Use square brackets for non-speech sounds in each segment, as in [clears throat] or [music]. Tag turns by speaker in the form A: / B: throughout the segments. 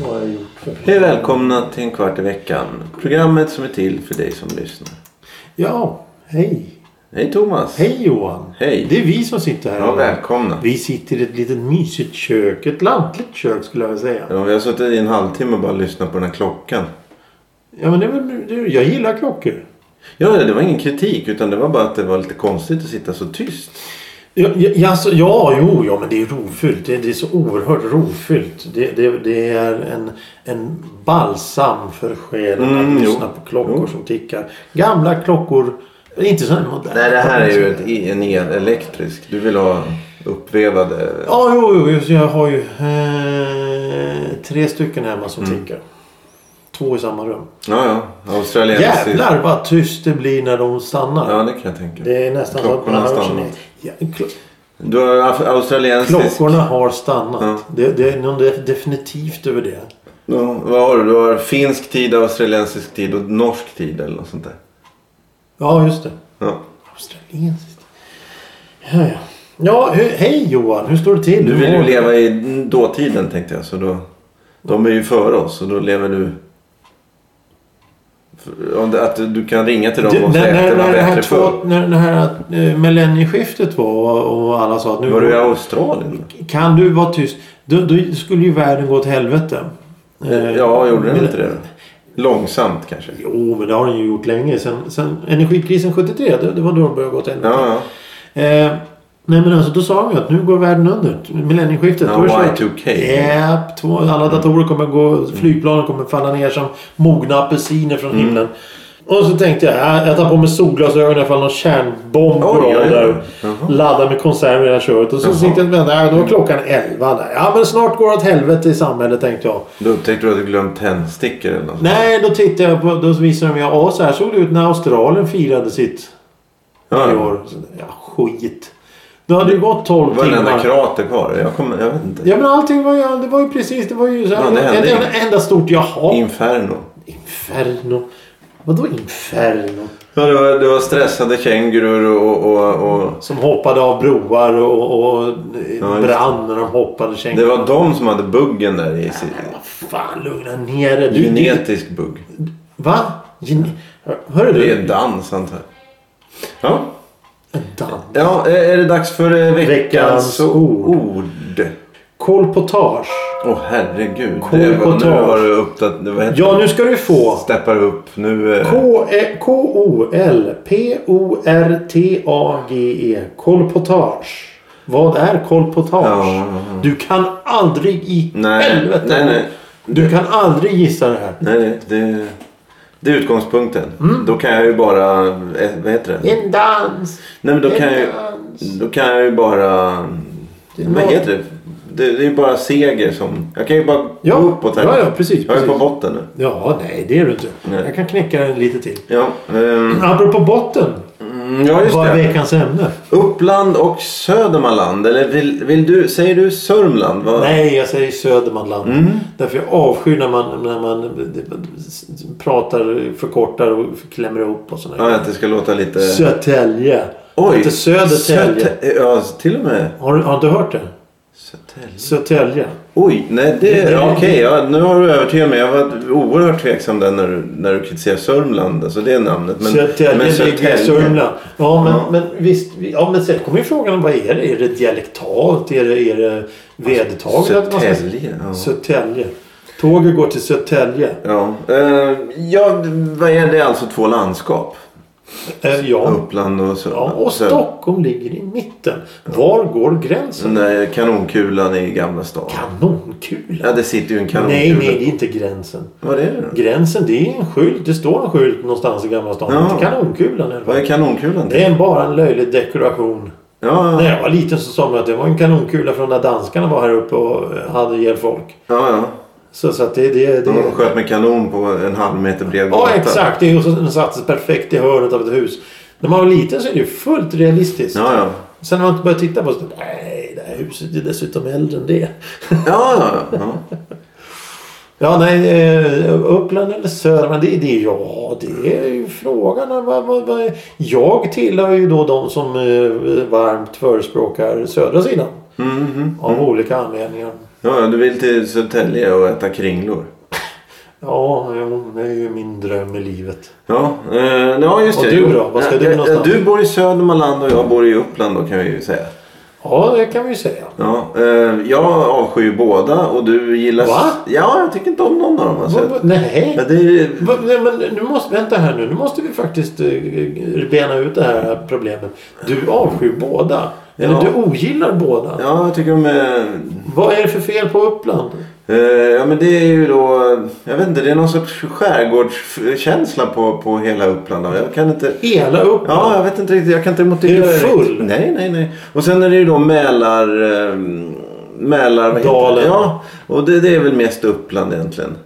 A: Vad har jag gjort för
B: Hej och välkomna till en kvart i veckan. Programmet som är till för dig som lyssnar.
A: Ja, hej.
B: Hej Thomas.
A: Hej Johan.
B: Hej.
A: Det är vi som sitter här.
B: Ja, välkomna.
A: Vi sitter i ett litet mysigt kök. Ett lantligt kök skulle jag vilja säga.
B: Ja, vi har suttit i en halvtimme och bara lyssnat på den här klockan.
A: Ja, men det är väl, det- jag gillar klockor.
B: Ja, det var ingen kritik utan det var bara att det var lite konstigt att sitta så tyst.
A: Ja, ja, ja, alltså, ja, jo, ja, men det är rofyllt. Det, det är så oerhört rofyllt. Det, det, det är en, en balsam för själen
B: Mm,
A: att
B: jo.
A: lyssna på klockor
B: Jo.
A: som tickar. Gamla klockor. Inte sådana moderna.
B: Nej, det här är ju ett, e- en el, elektrisk. Du vill ha uppvevade...
A: Ja, jo, jo, jo, så jag har ju eh, tre stycken hemma
B: Mm.
A: som tickar. Två i samma rum.
B: Ja, ja. Australiensisk.
A: Jävlar vad tyst det blir när de stannar.
B: Ja, det kan jag tänka mig.
A: Det är nästan så att man
B: Klockorna
A: hör
B: stannar.
A: sin- ja, kl-
B: Du har af- australiensisk...
A: Klockorna har stannat.
B: Ja.
A: Det, det är något def- definitivt över det.
B: Ja, vad har du? Du har finsk tid, australiensisk tid och norsk tid eller något sånt där.
A: Ja, just det.
B: Ja.
A: Australiensiskt. Ja, ja. ja hur, hej Johan, hur står det till?
B: Du
A: Hur
B: vill
A: mår
B: ju leva i dåtiden tänkte jag. Så då, de är ju före oss och då lever du... För- om det- Att du- du kan ringa till dem
A: Du,
B: och säga
A: när,
B: att
A: när,
B: det var
A: när, det här
B: bättre förr.
A: två, när det här eh, millennieskiftet var och, och alla sa att nu
B: Var du i Australien?
A: kan du vara tyst. Då, då skulle ju världen gå åt helvete. Eh,
B: Ja, gjorde den
A: men-
B: inte det? Långsamt kanske.
A: Jo, men det har den ju gjort länge. Sen, sen energikrisen 73, det, det var då det började gå åt helvete.
B: Ja, ja.
A: Eh, nej men alltså då sa de ju att nu går världen under. Millennieskiftet.
B: Ja,
A: då är det så att-
B: Y2K.
A: Japp, två-
B: Mm.
A: alla datorer kommer gå. Flygplanen kommer falla ner som mogna apelsiner från
B: Mm.
A: himlen. Och så tänkte jag, äh, jag tar på mig solglasögon ifall någon kärnbomb går
B: Oj,
A: av
B: oj,
A: där.
B: oj. Jaha.
A: Laddar med konserver i det här köret. Och så
B: Jaha. Mm.
A: sitter jag och väntar. Äh, då var klockan 11 där. Ja men snart går det åt helvete i samhället tänkte jag.
B: Då upptäckte du att du glömt tändstickor eller något.
A: Nej, då tittade jag på, då visade de mig, ja så här såg det ut när Australien firade sitt
B: Ja, ja.
A: nyår. Så, Ja, skit. Då hade det gått
B: Det
A: 12
B: var en enda
A: timmar.
B: krater kvar. Jag, kommer, jag vet inte.
A: Ja men allting var ju, det var ju precis, det var ju så här.
B: Ja, det hände
A: ett enda,
B: inget.
A: enda stort jaha.
B: Inferno.
A: inferno. Vadå inferno?
B: Ja, det, var, det var stressade kängurur och, och, och,
A: Som hoppade av broar och, och
B: just det.
A: brann när de hoppade. Kängor.
B: Det var de som hade buggen där i sin...
A: Vad fan, lugna ner dig. Du, du,
B: Genetisk bugg.
A: va? Gene... Hörru
B: Det
A: du.
B: är dans antar jag. Ja.
A: En dans.
B: ja, är det dags för eh,
A: Veckans
B: veckans
A: ord.
B: ord?
A: Kolportage.
B: Åh herregud. Det var,
A: Kolportage.
B: nu har du uppdat... det- Vad heter
A: Ja, nu ska du få.
B: det? Steppar upp. Nu... eh,
A: K- eh, K-O-L-P-O-R-T-A-G-E. Kolportage. Vad är kolportage?
B: Ja.
A: Du kan aldrig i
B: Nej,
A: helvete.
B: nej, nej.
A: Du kan aldrig gissa det här.
B: Nej, nej, det... Det är utgångspunkten. Då kan jag ju bara... eh, Vad heter det?
A: En dans.
B: Nej men då kan jag ju...
A: dans.
B: Då kan jag ju bara... Vad
A: låter-
B: heter det? Det, det är ju bara seger som... Jag kan ju bara
A: Ja,
B: gå uppåt här.
A: ja, ja, precis,
B: Jag är på
A: precis.
B: botten nu.
A: Ja, nej det är du inte.
B: Nej.
A: Jag kan knäcka den lite till.
B: Ja, ehm,
A: Apropå botten.
B: mm, ja just
A: Vad är
B: det.
A: veckans ämne?
B: Uppland och Södermanland. Eller vill, vill du, säger du Sörmland? Vad-
A: Nej, jag säger Södermanland.
B: Mm.
A: Därför jag avskyr när man, när man pratar, förkortar och klämmer ihop och sådär.
B: Ja, att det ska låta lite...
A: Sötälje. Inte Södertälje.
B: Söte- Ja, till och med.
A: Har, du- har du inte hört det?
B: Sötälje.
A: Sötälje.
B: Oj, nej det...
A: Det- det-
B: ja, Okej, ja, nu har du övertygat mig. Jag var oerhört tveksam där när, du- när du kritiserade Sörmland. Alltså det namnet. Men,
A: Sötälje
B: men
A: ligger i
B: Södertälje-
A: Sörmland. Ja, men,
B: Ja.
A: men visst. vi- Ja, men sen kommer ju frågan vad är det? Är det dialektalt? Är det, är det vedertaget? att man ska-
B: Sötälje, ja.
A: Sötälje. Tåget går till Sötälje.
B: Ja, eh, ja, vad är det alltså två landskap?
A: Eh, ja.
B: Uppland och
A: ja.
B: Sörmland.
A: Och Stockholm ligger i mitten. Var går gränsen?
B: Den där kanonkulan i Gamla stan. Ja,
A: Kanonkula?
B: det sitter ju en kanonkula.
A: Nej, nej, det är inte gränsen.
B: Vad är det då?
A: Gränsen, det är en skylt. Det står en skylt någonstans i Gamla stan.
B: Ja.
A: Inte kanonkulan. Eller
B: Vad är kanonkulan? till?
A: Det är bara en löjlig dekoration.
B: Ja,
A: När
B: ja.
A: jag var liten så sa man att det var en kanonkula från när danskarna var här uppe och hade ihjäl folk.
B: ja, ja.
A: Så, så att det... det, det...
B: De sköt med kanon på en halv meter bred
A: Ja, exakt. Det är- och så- Den sattes perfekt i hörnet av ett hus. När man var liten så är det ju fullt realistiskt.
B: Ja, ja.
A: Sen när man inte börjar titta på det så nej, det här huset är dessutom äldre än det.
B: Ja, ja, ja.
A: Ja, nej, eh, Uppland eller Södermanland, det, det, ja, det är ju frågan. Vad- vad- vad- Jag tillhör ju då de som eh, varmt förespråkar södra sidan. Av olika anledningar.
B: Mhm. ja, ja. Du vill till Södertälje och äta kringlor.
A: Ja, jo, det är ju min dröm i livet.
B: Ja, eh, ja just
A: Och
B: det.
A: du då? Vad ska
B: Ja,
A: du
B: ja,
A: någonstans?
B: Du bor i Södermanland och jag bor i Uppland då kan vi ju säga.
A: Ja, det kan vi ju säga.
B: Ja, eh, jag avskyr ju båda och du gillar...
A: Va?
B: Ja, jag tycker inte om någon av dem.
A: Vad-
B: Alltså.
A: vad- Nej.
B: Ja, det är...
A: Va- Nej, men nu måste, vänta här nu. Nu måste vi faktiskt eh, bena ut det här problemet. Du avskyr båda. Eller
B: Ja.
A: du ogillar båda.
B: Ja, jag tycker de är...
A: Vad är det för fel på Uppland?
B: Eh, Ja men det är ju då, jag vet inte, det är någon sorts skärgårdskänsla på, på hela Uppland. Jag kan inte,
A: Hela Uppland?
B: ja jag vet inte riktigt, jag kan inte motivera
A: Är du
B: riktigt.
A: full?
B: Nej, nej, nej. Och sen är det ju då Mälar... eh, Mälar... vad heter det?
A: Dalen.
B: Ja, och det, det är väl mest Uppland egentligen.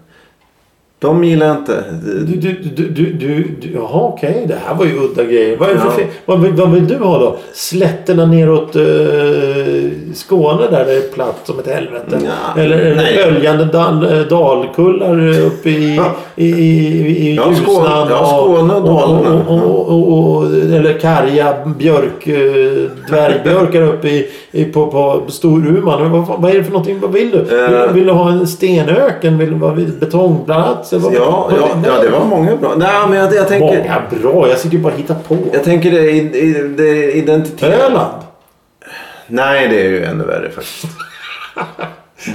B: De gillar jag inte.
A: Du, du, du, du, du, du, jaha okej, det här var ju udda grejer. Vad, är det för
B: Ja.
A: fel? vad, vill- vad vill du ha då? Slätterna neråt eh, Skåne där det är platt som ett helvete?
B: Nja,
A: Eller är det
B: nej.
A: böljande dal, eh, dalkullar eh, uppe i, i, i, i
B: Ja, Skåne-
A: Ljusnan
B: ja, Skåne och Dalarna.
A: och, och, och, och, och, Eller karga björk, eh, dvärgbjörkar uppe i, i, på, på Storuman. Men Vad, vad är det för någonting? Vad vill du? Vill,
B: Eh.
A: vill du ha en stenöken? Vill du ha betongplats? Eller vad-
B: Ja,
A: vad-
B: ja, ja, det var många bra. Nej, men jag, jag tänker...
A: Många bra. Jag sitter ju bara och hittar på.
B: Jag tänker det, är i- i- det är identitet.
A: Öland.
B: Nej, det är ju ännu värre
A: [laughs]
B: faktiskt.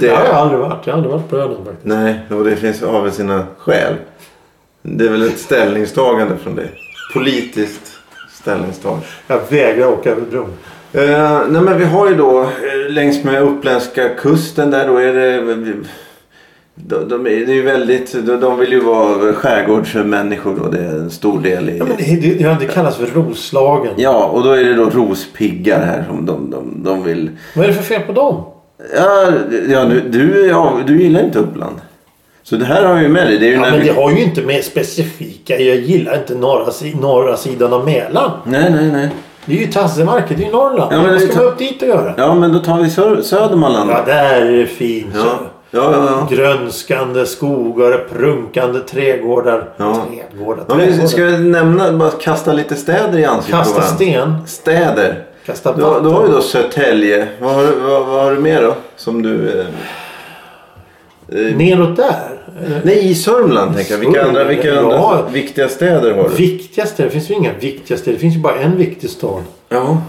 B: Det
A: Det har jag aldrig varit. Jag har aldrig varit på Öland faktiskt.
B: Nej, och det finns av väl sina skäl. Det är väl ett ställningstagande från dig. Politiskt ställningstagande.
A: Jag vägrar åka över bron.
B: Eh, nej men vi har ju då eh, längs med uppländska kusten där då är det... De, de är det är ju väldigt... De, de vill ju vara skärgårdsmänniskor då. Det är en stor del i...
A: Ja, men det, det, det, det kallas för Roslagen.
B: Ja, och då är det då rospiggar här som de, de, de vill...
A: Vad är det för fel på dem?
B: Ja, ja, nu, du, är av- du gillar inte Uppland. Så det här har jag ju med dig. Det är ju
A: Ja,
B: när
A: men
B: vi-
A: det har ju inte med specifika... Jag gillar inte norra, si- norra sidan av Mälaren.
B: Nej, nej, nej.
A: Det är ju Tassemarken. Det är ju Norrland.
B: Ja, men
A: Vad
B: det
A: ska
B: är
A: man
B: ta-
A: upp dit och göra?
B: Ja, men då tar vi Sö- Södermanland.
A: Ja, där är det fint.
B: Ja,
A: så.
B: ja, ja. ja.
A: Grönskande skogar, prunkande trädgårdar.
B: Ja.
A: Trädgårdar,
B: Om vi
A: trädgårdar.
B: ska nämna, bara kasta lite städer i ansiktet
A: Kasta
B: på varandra.
A: sten.
B: Städer.
A: Kasta
B: Du, har-
A: vatten.
B: du har ju då Södertälje. Vad har, du- vad, vad har du mer då? Som du... Eh...
A: Neråt där. Eh,
B: Nej, i Sörmland tänker jag. Vilka andra, vilka andra
A: Ja.
B: viktiga städer har du?
A: Viktigaste? Det finns ju inga viktigaste. Det finns ju bara en viktig stad.
B: Ja.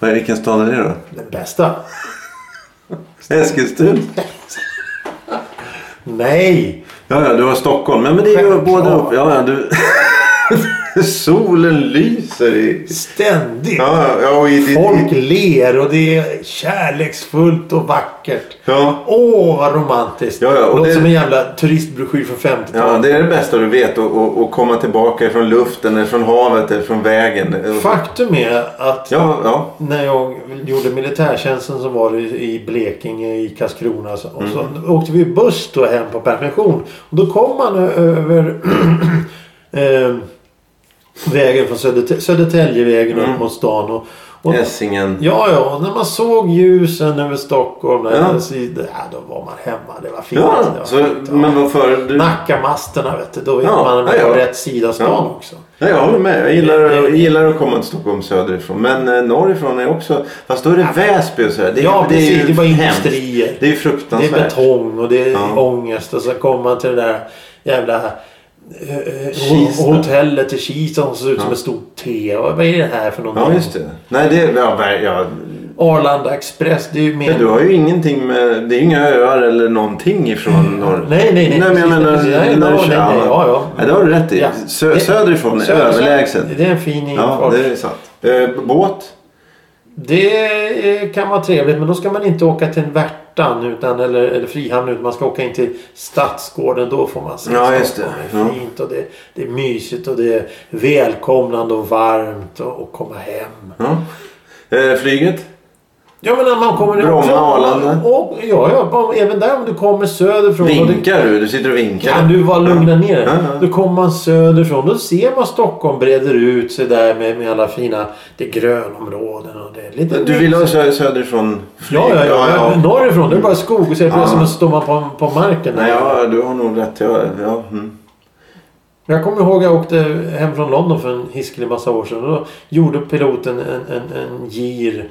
B: Vad är- Vilken stad är det då?
A: Den bästa.
B: Eskilstuna?
A: Nej!
B: Ja, ja, du har Stockholm. Men, men det är ju
A: Självklart.
B: båda upp. Ja, ja, du... [laughs] Solen lyser i...
A: Ständigt!
B: Ja, ja, ja, och i...
A: Folk ler och det är kärleksfullt och vackert.
B: Ja.
A: Åh, vad romantiskt!
B: Ja, ja, och
A: Låter
B: det-
A: som en jävla turistbroschyr från 50-talet.
B: Ja, det är det bästa du vet. Att- Att att komma tillbaka från luften, eller från havet eller från vägen.
A: Faktum är att
B: Ja, ja.
A: när jag gjorde militärtjänsten så var det i Blekinge, i Karlskrona. Och så, och
B: Mm.
A: så åkte vi buss då hem på permission. Och då kom man ö- över [clears throat] eh, vägen från Söderte- Södertäljevägen
B: Mm.
A: upp mot stan. Och, och,
B: Essingen.
A: Ja, ja. Och när man såg ljusen över Stockholm. Där,
B: Ja.
A: ja. då var man hemma. Det var fint.
B: Ja,
A: det var
B: så,
A: fint, ja.
B: men vad för... Du... Nej,
A: Nackamasterna vet du. Då är
B: Ja,
A: man
B: ja, ja.
A: på rätt sida stan
B: Ja.
A: också.
B: jag håller med. Jag gillar, jag gillar att komma till Stockholm söderifrån. Men eh, norrifrån är också... Fast då är det Väsby och sådär. Det är,
A: Ja,
B: det är
A: precis. Det är bara
B: hemskt.
A: industrier.
B: Det är
A: Det är
B: fruktansvärt.
A: betong och det är
B: Ja.
A: ångest och så kommer man till det där jävla eh, eh,
B: Kista.
A: hotellet i Kista som ser ut som ett stort T. Och Vad är det här för någonting?
B: Ja, just det. Nej, det... Ja, ver- ja.
A: Arlanda Express, det är ju
B: Men
A: mer...
B: du har ju ingenting med... Det är ju inga öar eller någonting ifrån norr.
A: Mm. Nej, nej, nej.
B: Nej, men jag
A: Precis,
B: menar...
A: precis. Nej, nej,
B: norr-
A: nej, nej. Ja, ja.
B: Ja, det har du rätt i.
A: Ja.
B: Sö- söderifrån är
A: Söder-
B: överlägset.
A: Det är en fin
B: Ja,
A: infart.
B: det är sant. Eh, båt?
A: Det eh, kan vara trevligt men då ska man inte åka till en Värtan utan, eller, eller Frihamn utan man ska åka in till Stadsgården. Då får man se
B: Ja, just
A: Stockholm.
B: det.
A: är
B: Ja.
A: fint och det, det är mysigt och det är välkomnande och varmt och, och komma hem.
B: Ja. Eh, flyget?
A: Ja men när man kommer...
B: Bromma,
A: Ja,
B: Arlanda.
A: Och, ja, ja, bara- även där om du kommer söderifrån. och det-
B: Vinkar du? Du sitter och vinkar.
A: Kan du vara lugna ner dig?
B: Ja, ja.
A: Då kommer man söderifrån. Då ser man Stockholm breder ut sig där med, med alla fina... Det är grönområden och det är lite...
B: Du vill ha sö- söderifrån flyg?
A: Ja, ja, ja. ja. Norrifrån. Det är bara skog och så helt plötsligt står man på, på marken. Där.
B: Nej, ja, du har nog rätt. Ja, ja. Mm.
A: Jag kommer ihåg jag åkte hem från London för en hiskelig massa år sedan. Och då gjorde piloten en, en, en gir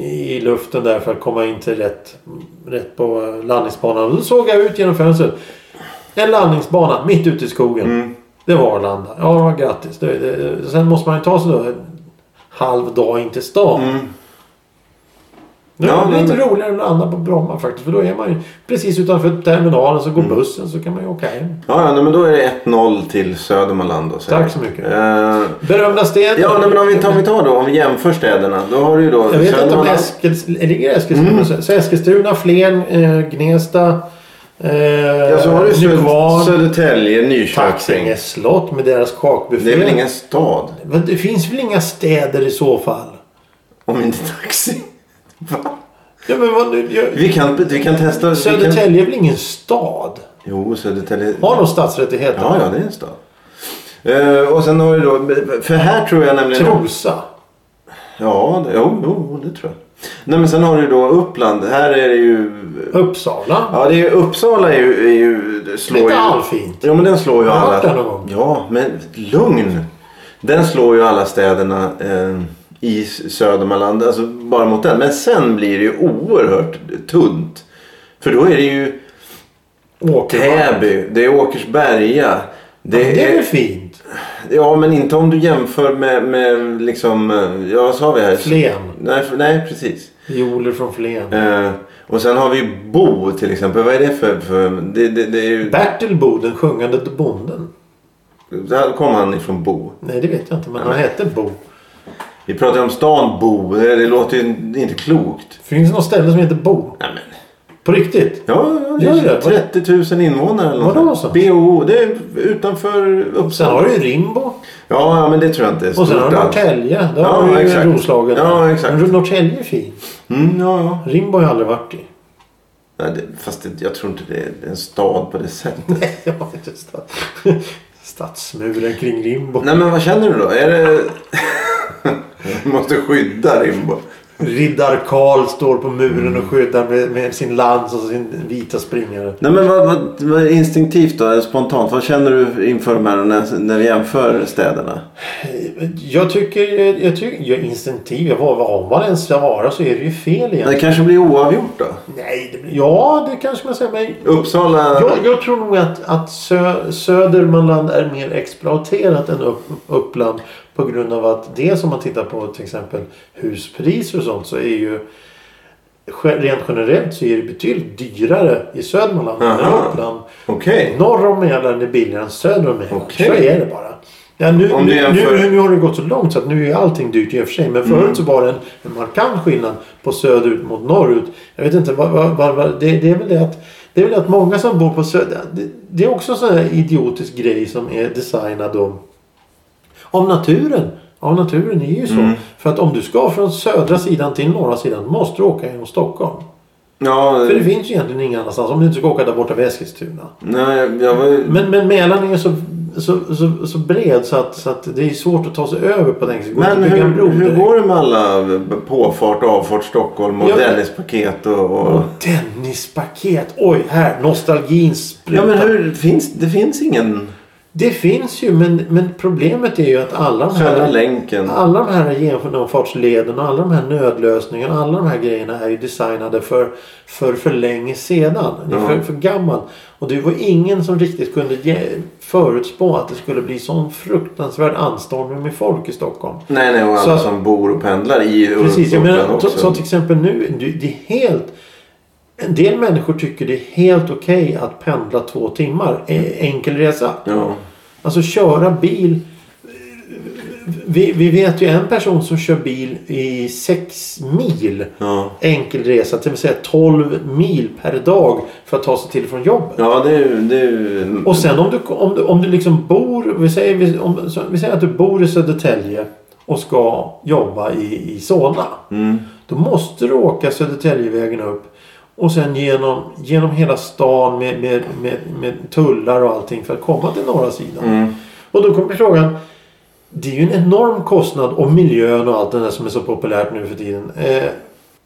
A: i luften där för att komma in till rätt, rätt på landningsbanan. Och då såg jag ut genom fönstret. En landningsbana mitt ute i skogen.
B: Mm.
A: Det var Arlanda. Ja, grattis. Det, det, sen måste man ju ta sig då en halv dag in till stan.
B: Mm.
A: Nu
B: Ja,
A: är det
B: men-
A: lite roligare att landa på Bromma faktiskt. För då är man ju precis utanför terminalen så går
B: Mm.
A: bussen så kan man ju åka hem.
B: Ja, ja nej, men då är det 1-0 till Södermanland. Då,
A: Tack så mycket.
B: Eh,
A: Berömda städer.
B: ja, nej, men om vi, tar, om vi tar då, om vi jämför städerna. Då har du ju då
A: Jag vet inte om
B: Södermanland.
A: Eskils, ligger Eskilstuna.
B: Mm.
A: Så så Eskilstuna, Flen, eh, Gnesta, eh,
B: ja, så har du Sö-
A: Nykvarn,
B: Södertälje, Nyköping.
A: Taxinge slott med deras kakbuffé.
B: Det är väl ingen stad?
A: Men det finns väl inga städer i så fall?
B: Om inte taxi. Va?
A: Ja, men vad, nu- jag,
B: Vi kan, vi kan testa. Vi kan...
A: Södertälje är väl ingen stad?
B: Jo, Södertälje.
A: Har de stadsrättigheter?
B: Ja, ja, det är en stad. Eh, och sen har vi då, för här tror jag nämligen...
A: Trosa?
B: Ja, det, jo, jo, det tror jag. Nej, men sen har du då Uppland. Här är det ju...
A: Uppsala?
B: Ja, det är ju, Uppsala är ju... Är ju det slår
A: Lite
B: ju,
A: allfint.
B: Ja, men den slår ju
A: Har du
B: alla...
A: varit där någon gång?
B: Ja, men lugn! Den slår ju alla städerna eh, i Södermanland. Alltså bara mot den. Men sen blir det ju oerhört tunt. För då är det ju
A: Åkermark?
B: Täby, det är Åkersberga. Det
A: Det är
B: är,
A: väl fint?
B: ja, men inte om du jämför med, med liksom... eh, Ja, vad sa vi här?
A: Flen.
B: Nej, för- nej precis.
A: Violer från Flen.
B: Eh, och sen har vi ju Bo till exempel. Vad är det för... för det, det, det är ju,
A: Bertil Bo, den sjungande bonden.
B: där kom han ifrån Bo.
A: Nej, det vet jag inte, men han hette Bo.
B: Vi pratar om stan Bo. Det, det låter ju inte klokt.
A: Finns det något ställe som heter Bo?
B: Nej, men.
A: På riktigt?
B: Ja, ja, det
A: Gör det?
B: är 30 000 invånare eller något
A: Vadå
B: sånt.
A: så?
B: BO, det är utanför
A: Sen
B: Uppsala.
A: har du ju Rimbo.
B: Ja, ja, men det tror jag inte är
A: Och sen har
B: stort
A: du
B: alls.
A: Norrtälje. Där
B: Ja,
A: har du ju
B: exakt.
A: Roslagen.
B: Ja, exakt.
A: Men Norrtälje är fin.
B: Mm, ja, ja.
A: Rimbo har jag aldrig varit i. [laughs]
B: Nej, det, fast det, jag tror inte det är en stad på det sättet.
A: Nej, jag har inte stad. [laughs] Stadsmuren kring Rimbo.
B: Nej men vad känner du då? Är det... [laughs] Du måste skydda Rimbo.
A: Riddar Karl står på muren och skyddar med, med sin lans och sin vita springare.
B: Nej men vad, vad, vad är instinktivt då? Spontant. Vad känner du inför de här när, när vi jämför städerna?
A: Eh, Jag tycker... Jag tycker jag är instinktiv. Jag var, om man ens svarar så är det ju fel igen.
B: Det kanske blir oavgjort då?
A: Nej, det, ja det kanske man säger. Men
B: Uppsala...
A: Jag, jag tror nog att, att sö, Södermanland är mer exploaterat än upp, Uppland. På grund av att det som man tittar på till exempel huspriser och sånt så är ju ge- rent generellt så är det betydligt dyrare i Södermanland än
B: Aha.
A: Uppland.
B: Okej.
A: Norr om Mälaren är billigare än söder om Mälaren.
B: Okej.
A: Så är det bara. Ja, nu,
B: Om du
A: nu,
B: jämför-
A: nu, nu har det gått så långt så att nu är allting dyrt i och för sig. Men
B: Mm.
A: förut så var det en, en markant skillnad på söderut mot norrut. Jag vet inte vad, vad, vad, vad det, det är väl det att det är väl att många som bor på söder... Det, det är också en sån här idiotisk grej som är designad om, om naturen. Av naturen är ju så.
B: Mm.
A: För att om du ska från södra sidan till norra sidan måste du åka genom Stockholm.
B: Ja,
A: För det finns ju egentligen ingen annanstans. Om du inte ska åka där borta vid Eskilstuna.
B: nej, jag var ju...
A: Men, men Mälaren är ju så, så, så, så bred så att, så att det är svårt att ta sig över på den. Så det går
B: Men
A: inte att bygga en bro
B: hur, hur
A: direkt.
B: går det med alla påfart, avfart Stockholm och
A: Ja, men-
B: Dennispaket och... och...
A: Och Dennispaket! Oj, här! Nostalgin sprutar.
B: Ja men hur... Finns, det finns ingen...
A: Det finns ju, men, men problemet är ju att alla de
B: Södra
A: här...
B: länken.
A: Alla de här genomfartsleden och alla de här nödlösningarna, alla de här grejerna är ju designade för för, för länge sedan. Det är för,
B: Ja.
A: för gammal. Och det var ingen som riktigt kunde ge, förutspå att det skulle bli sån fruktansvärd anstormning med folk i Stockholm.
B: Nej, nej, och
A: Så-
B: alla som bor och pendlar i
A: Precis, jag
B: Uppland
A: menar, så,
B: också.
A: så till exempel nu, det det är helt... En del människor tycker det är helt okej att pendla två timmar, e- enkel resa.
B: ja.
A: Alltså köra bil. Vi, vi vet ju en person som kör bil i sex mil
B: Ja.
A: enkel resa, det vill säga 12 mil per dag för att ta sig till och från jobbet.
B: ja, det är ju... Det är ju
A: Och sen om du, om du, om du liksom bor, vi säger, vi, om, så- vi säger att du bor i Södertälje och ska jobba i, i Solna.
B: Mm.
A: Då måste du åka Södertäljevägen upp. Och sen genom, genom hela stan med, med, med, med tullar och allting för att komma till norra sidan.
B: Mm.
A: Och då kommer frågan. Det är ju en enorm kostnad om miljön och allt det där som är så populärt nu för tiden. Eh,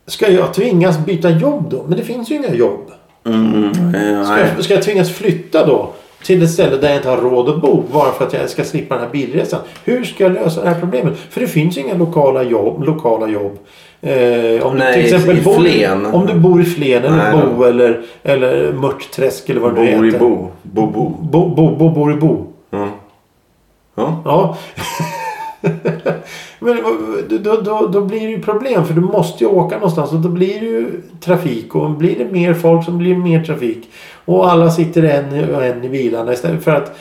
A: ska jag tvingas byta jobb då? Men det finns ju inga jobb.
B: Mm. Eh,
A: Ska
B: nej.
A: jag, ska jag tvingas flytta då? Till ett ställe där jag inte har råd att bo bara för att jag ska slippa den här bilresan. Hur ska jag lösa det här problemet? För det finns ju inga lokala jobb. Lokala jobb. Eh, om
B: Nej,
A: du till exempel
B: i
A: bor,
B: Flen.
A: Om du bor i Flen eller
B: Nej,
A: Bo eller, eller Mörtträsk eller vad det nu
B: Bor i
A: heter.
B: bo. Bo bo.
A: Bo, bo, bo, bor i Bo.
B: Ja. Ja.
A: Ja. [laughs] Men då- då, då, då blir det ju problem för du måste ju åka någonstans och då blir det ju trafik och blir det mer folk så blir det mer trafik. Och alla sitter en och en i bilarna istället för att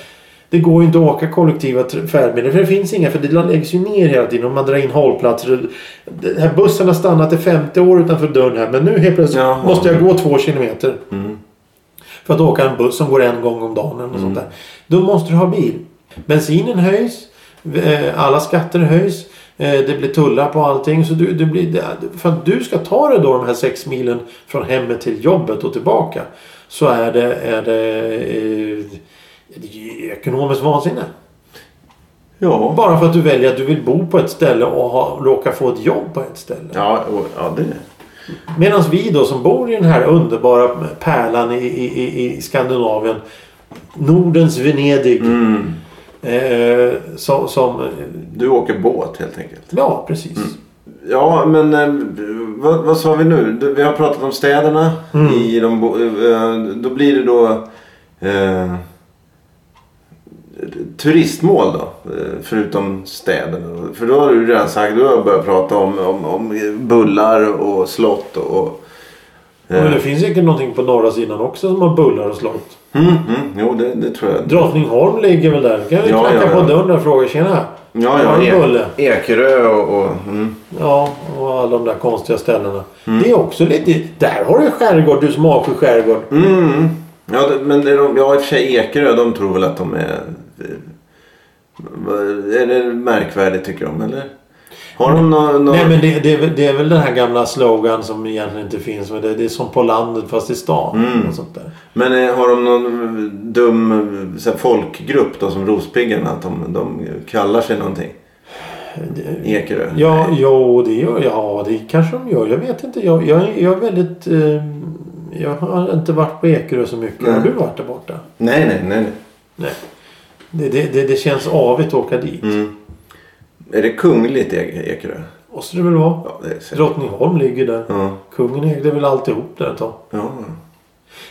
A: det går ju inte att åka kollektiva tr- färdmedel för det finns inga för det läggs ju ner hela tiden och man drar in hållplatser. och- Den här bussen har stannat i 50 år utanför dörren här men nu helt plötsligt
B: Jaha.
A: måste jag gå två kilometer.
B: Mm.
A: För att åka en buss som går en gång om dagen eller något sånt där. Då måste du ha bil. Bensinen höjs. eh, Alla skatter höjs. eh, Det blir tullar på allting. Så du, det blir, det- för att du ska ta dig då de här sex milen från hemmet till jobbet och tillbaka. Så är det, är det, eh, det är ju ekonomiskt vansinne.
B: Ja.
A: Bara för att du väljer att du vill bo på ett ställe och ha, råkar få ett jobb på ett ställe.
B: Ja, och- ja det.
A: Medan vi då som bor i den här underbara pärlan i, i, i- i Skandinavien. Nordens Venedig.
B: Mm.
A: Eh, som, som...
B: Du åker båt helt enkelt.
A: Ja, precis.
B: Mm. Ja, men eh, vad, vad sa vi nu? Du- Vi har pratat om städerna. I de, bo- eh, då blir det då eh, turistmål då. eh, Förutom städerna. För då har du redan sagt, du har börjat prata om, om, om bullar och slott och... eh,
A: Men det finns säkert någonting på norra sidan också som har bullar och slott.
B: mm, mm, jo, det, det tror jag.
A: Drottningholm ligger väl där. Kan vi
B: Ja,
A: knacka
B: ja, ja.
A: på dörren där och fråga tjena.
B: Ja,
A: Har
B: ja,
A: du
B: ek,
A: bulle?
B: Ekerö och... och mm.
A: Ja, och alla de där konstiga ställena. Det är också lite... Där har du skärgård, du som avskyr skärgård.
B: Mm. Ja, det- men det är de, ja, i och för sig Ekerö, de tror väl att de är... va- Är det märkvärdigt tycker de, eller? Har de någon...
A: Nej men det, det, är väl- det är väl den här gamla slogan som egentligen inte finns. Men det, det är som på landet fast i stan.
B: Mm.
A: Och sånt där.
B: men eh, har de någon dum så här, folkgrupp då som Rospiggarna? Att de, de kallar sig någonting? Ekerö?
A: Ja, jo, det gör Ja, det kanske de gör. Jag vet inte. Jag, jag, jag är väldigt... Eh, jag har inte varit på Ekerö så mycket.
B: Nej.
A: Har du varit där borta?
B: Nej, nej, nej. nej.
A: Nej. Det, det, det, det känns avigt att åka dit.
B: Mm. Är det kungligt E- Ekerö?
A: Måste det väl vara?
B: Ja, det är säkert.
A: Drottningholm ligger där.
B: Ja.
A: Kungen ägde väl alltihop där ett tag.
B: ja.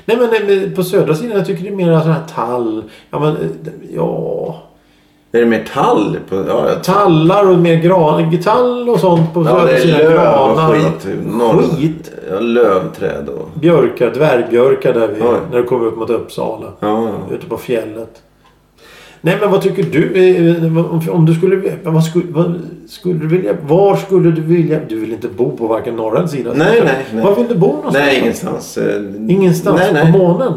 A: Nej men nej, men på södra sidan jag tycker det är mer sån här tall. Ja men eh, ja.
B: Är det mer tall? På, ja, jag
A: Tallar och mer gran. Tall och sånt på
B: Ja,
A: södra
B: det är
A: sidan.
B: löv och
A: Granar.
B: skit. typ. Norr,
A: Skit?
B: Ja, lövträd och...
A: Björkar, dvärgbjörkar där vi,
B: Oj.
A: när du kommer upp mot Uppsala.
B: Ja, ja.
A: Ute på fjället. Nej men vad tycker du? eh, om- Om du skulle, vad skulle, vad skulle du vilja? Var skulle du vilja? Du vill inte bo på varken norra eller sidan?
B: Nej, nej, nej.
A: Var vill du bo någonstans?
B: Nej, ingenstans. eh,
A: Ingenstans?
B: Nej,
A: På
B: nej.
A: månen?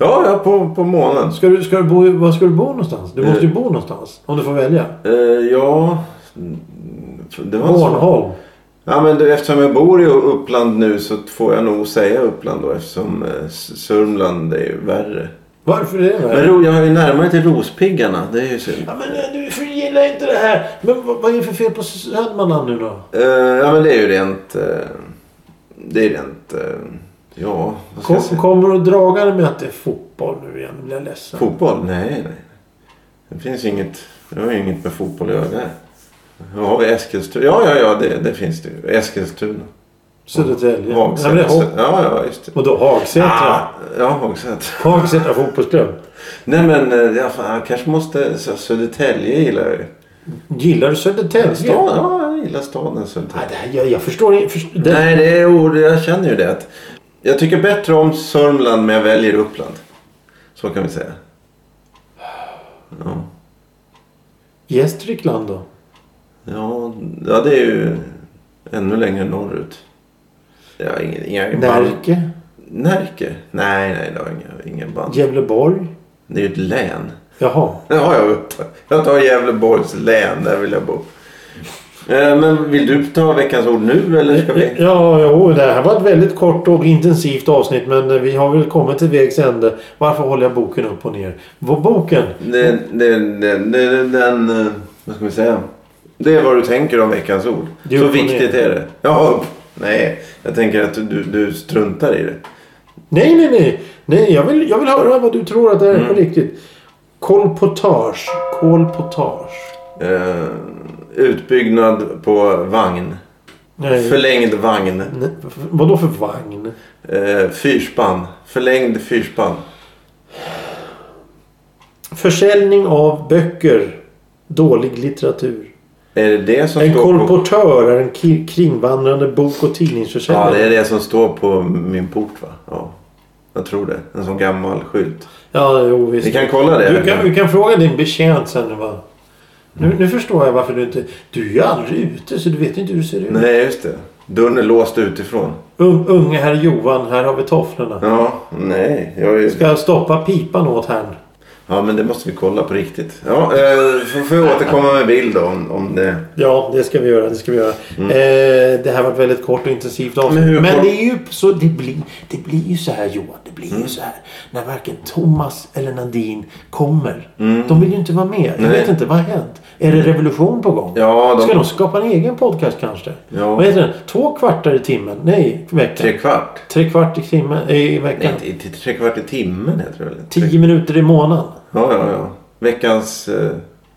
B: Ja, ja, på, på månen.
A: Ska du, ska du bo, i- var ska du bo någonstans? Du måste ju bo någonstans. Om du får välja.
B: Eh, ja... mm, Det var en svår-
A: Bornholm.
B: Ja, men du, eftersom jag bor i Uppland nu så får jag nog säga Uppland då eftersom eh, S- Sörmland är ju värre.
A: Varför är det?
B: Men ro, jag är ju närmare till Rospiggarna. Det är ju synd.
A: Ja, men eh, du för gillar inte det här. Men vad, vad är det för fel på Södermanland nu då?
B: Eh, ja, men det är ju rent... eh, det är rent... eh, ja, vad ska
A: Kom,
B: jag säga?
A: kommer du dragande med att det är fotboll nu igen? Nu blir jag ledsen.
B: Fotboll? Nej, nej. Det finns inget. Jag har inget med fotboll att göra där. Ja, har vi Eskilstuna? Ja, ja, ja, det, det finns det ju. Eskilstuna.
A: Södertälje. Ja, men det är
B: Hagsätra.
A: hopp.
B: Ja, ja, just det.
A: Och då Hagsätra.
B: Ah, ja, Hagsätra.
A: Hagsätra fotbollsklubb.
B: Nej, men eh, ja, fan, jag kanske måste... Så, Södertälje gillar jag ju.
A: Gillar du Södertälje?
B: Staden? Ja, jag gillar staden
A: Nej,
B: Södertälje.
A: det här, jag, jag förstår inte. Först, det,
B: Nej, det är ord. Jag känner ju det. Att jag tycker bättre om Sörmland, men jag väljer Uppland. Så kan vi säga. Ja.
A: Gästrikland då?
B: Ja, ja det är ju ännu längre norrut. Jag har ingen, inga band.
A: Närke?
B: Närke? Nej, nej, det har inga, ingen band.
A: Gävleborg?
B: Det är ju ett län.
A: Jaha.
B: Ja, jag, vet. jag tar Gävleborgs län, där vill jag bo. Eh, Men vill du ta veckans ord nu eller ska vi?
A: Ja, jo, det här var ett väldigt kort och intensivt avsnitt men vi har väl kommit till vägs ände. Varför håller jag boken upp och ner? Vår boken?
B: Den, den, den, den, den, eh, vad ska vi säga? Det är vad du tänker om veckans ord.
A: Det är
B: Så
A: upp och ner.
B: viktigt är det. Ja, upp. nej, jag tänker att du, du struntar i det.
A: Nej, nej, nej. nej jag, vill, jag vill höra vad du tror att det är på riktigt. Kolpotage. Kolpotage.
B: Eh, utbyggnad på vagn.
A: Nej.
B: Förlängd vagn.
A: nej. Vadå för vagn?
B: Eh, fyrspann. Förlängd fyrspann.
A: Försäljning av böcker. Dålig litteratur.
B: Är det det som
A: En
B: står på...
A: kolportör är en ki- kringvandrande bok och
B: Ja,
A: tidningsförsäljare.
B: det är det som står på min port va? Ja, jag tror det. En sån gammal skylt.
A: Ja, jo, visst.
B: Vi kan kolla det.
A: Du kan, du kan fråga din betjänt sen. Va? Nu, nu förstår jag varför du inte... Du är ju aldrig ute så du vet inte hur du ser ut.
B: Nej, just det. Dörren är låst utifrån.
A: Un, unge herr Johan, här har vi tofflorna.
B: Ja, nej. Jag är...
A: Ska jag stoppa pipan åt här?
B: Ja, men det måste vi kolla på riktigt. Ja, eh, får får jag återkomma med bild då, om, om det.
A: Ja, det ska vi göra. Det, ska vi göra. Eh, det här var ett väldigt kort och intensivt avsnitt.
B: Mm. Men hur-
A: Men, det är ju så... Det blir, det blir ju så här Johan. Det blir ju
B: Mm.
A: så här. När varken Thomas eller Nadine kommer. De vill ju inte vara med. Jag
B: Mm. Nej.
A: vet inte. Vad har hänt? Är det revolution på gång?
B: Ja, de-
A: Ska de skapa en egen podcast kanske?
B: Ja.
A: Vad heter den? Två kvartar i timmen? Nej, i veckan.
B: Tre kvart?
A: Tre kvart i timmen eh, i veckan.
B: Nej, inte- inte tre kvart i timmen heter det väl? Tre-
A: Tio minuter i månaden.
B: Ja, ja, ja. Veckans... Eh,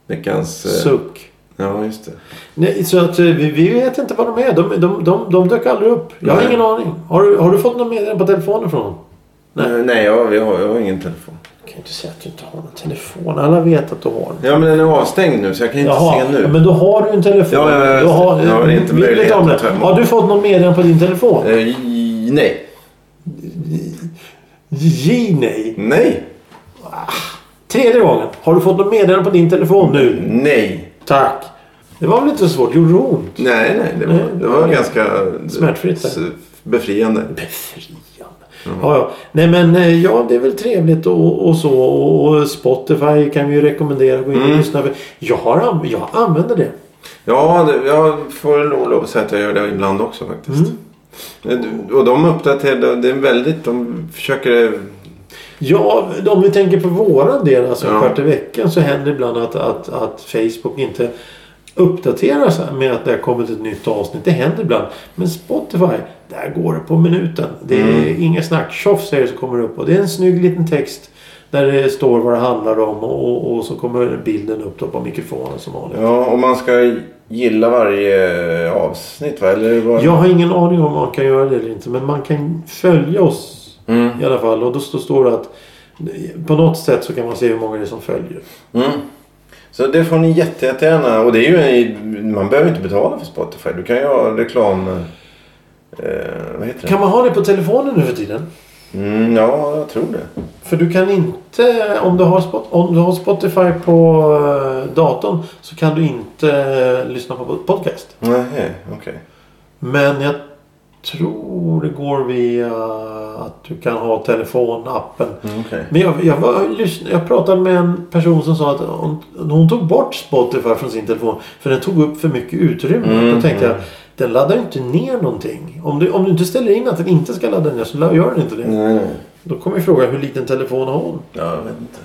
B: veckans... Eh,
A: Suck.
B: Ja, just det.
A: Nej, så att eh, vi, vi vet inte vad de är. De, de, de, de dök aldrig upp. Jag har
B: Nej.
A: ingen aning. Har du, har du fått någon meddelande på telefonen från dem? Nej.
B: Eh, Nej, nej jag, jag, har, jag har ingen telefon.
A: Jag kan ju inte säga att du inte har någon telefon. Alla vet att du har den.
B: Ja, men den är avstängd nu så jag kan inte
A: Jaha,
B: se nu.
A: men då har du en telefon.
B: Ja, ja, ja,
A: du
B: just det.
A: har,
B: Jag har inte
A: vi vet
B: möjlighet
A: om det.
B: att ta emot.
A: Har du fått någon meddelande på din telefon?
B: Eh, j- nej.
A: J nej.
B: Nej.
A: Tredje gången. Har du fått någon meddelande på din telefon
B: Mm.
A: nu?
B: Nej.
A: Tack. Det var väl inte så svårt? Gjorde det ont?
B: Nej, nej. Det var, det var ganska... eh,
A: Smärtfritt,
B: s- Befriande.
A: Befriande. Ja, ja. Nej men eh, ja, det är väl trevligt och, och så. Och Spotify kan vi ju rekommendera. Gå in och lyssna. Jag, har, anv- jag använder det.
B: Ja, det, jag får nog lov att säga att jag gör det ibland också
A: Mm.
B: faktiskt. Eh, Och de uppdaterar, det är väldigt, de försöker... eh,
A: Ja, om vi tänker på våran del, alltså
B: Ja.
A: kvart i veckan, så händer ibland att, att, att Facebook inte uppdaterar sig med att det har kommit ett nytt avsnitt. Det händer ibland. Men Spotify, där går det på minuten. Det är inga snack. Tjoff säger det så kommer det upp. Och det är en snygg liten text där det står vad det handlar om och, och, och så kommer bilden upp då på mikrofonen som vanligt.
B: Ja, och man ska gilla varje eh, avsnitt va? Eller är det bara...
A: Jag har ingen aning om man kan göra det eller inte. Men man kan följa oss
B: Mm.
A: i alla fall. Och då står- står det att på något sätt så kan man se hur många det är som följer.
B: Mm. Så det får ni jätte- jättegärna. Och det är ju en, man behöver inte betala för Spotify. Du kan ju ha reklam... Eh, vad heter det?
A: Kan man ha det på telefonen nu för tiden?
B: Mm, ja, jag tror det.
A: För du kan inte, om du har, Spot, om du har Spotify på eh, datorn så kan du inte eh, lyssna på podcast.
B: Nej, okej.
A: Men jag tror det går via att du kan ha telefonappen.
B: Mm, okej.
A: Men jag, jag, var, lyssn- jag pratade med en person som sa att hon, hon tog bort Spotify från sin telefon för den tog upp för mycket utrymme.
B: Mm,
A: Då tänkte jag, den laddar ju inte ner någonting. Om du, om du inte ställer in att den inte ska ladda ner så la- gör den inte det.
B: Nej, nej.
A: Då kommer ju frågan hur liten telefon har hon?
B: Ja, jag vet inte.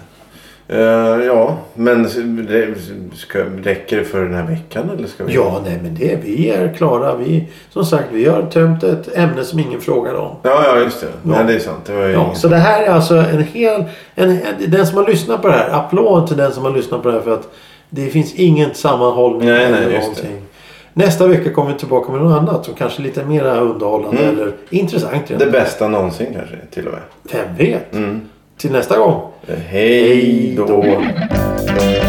B: Eh, ja, men det- ska, räcker det för den här veckan eller ska vi?
A: Ja, nej men det, vi är klara. Vi, som sagt, vi har tömt ett ämne som ingen frågar om.
B: Ja, ja just det. Nej, det är sant. Det var ju
A: Ja,
B: ingen-
A: så det här är alltså en hel... En, den som har lyssnat på det här, applåd till den som har lyssnat på det här för att det finns ingen sammanhållning.
B: Nej, nej,
A: eller
B: just
A: någonting. Nästa vecka kommer vi tillbaka med något annat som kanske är lite mer underhållande eller intressant.
B: Mm. Det Mm.
A: rent.
B: bästa någonsin kanske till och med.
A: Vem vet? Till nästa gång.
B: Eh, Hej då.
A: Hej då.
B: Hej då.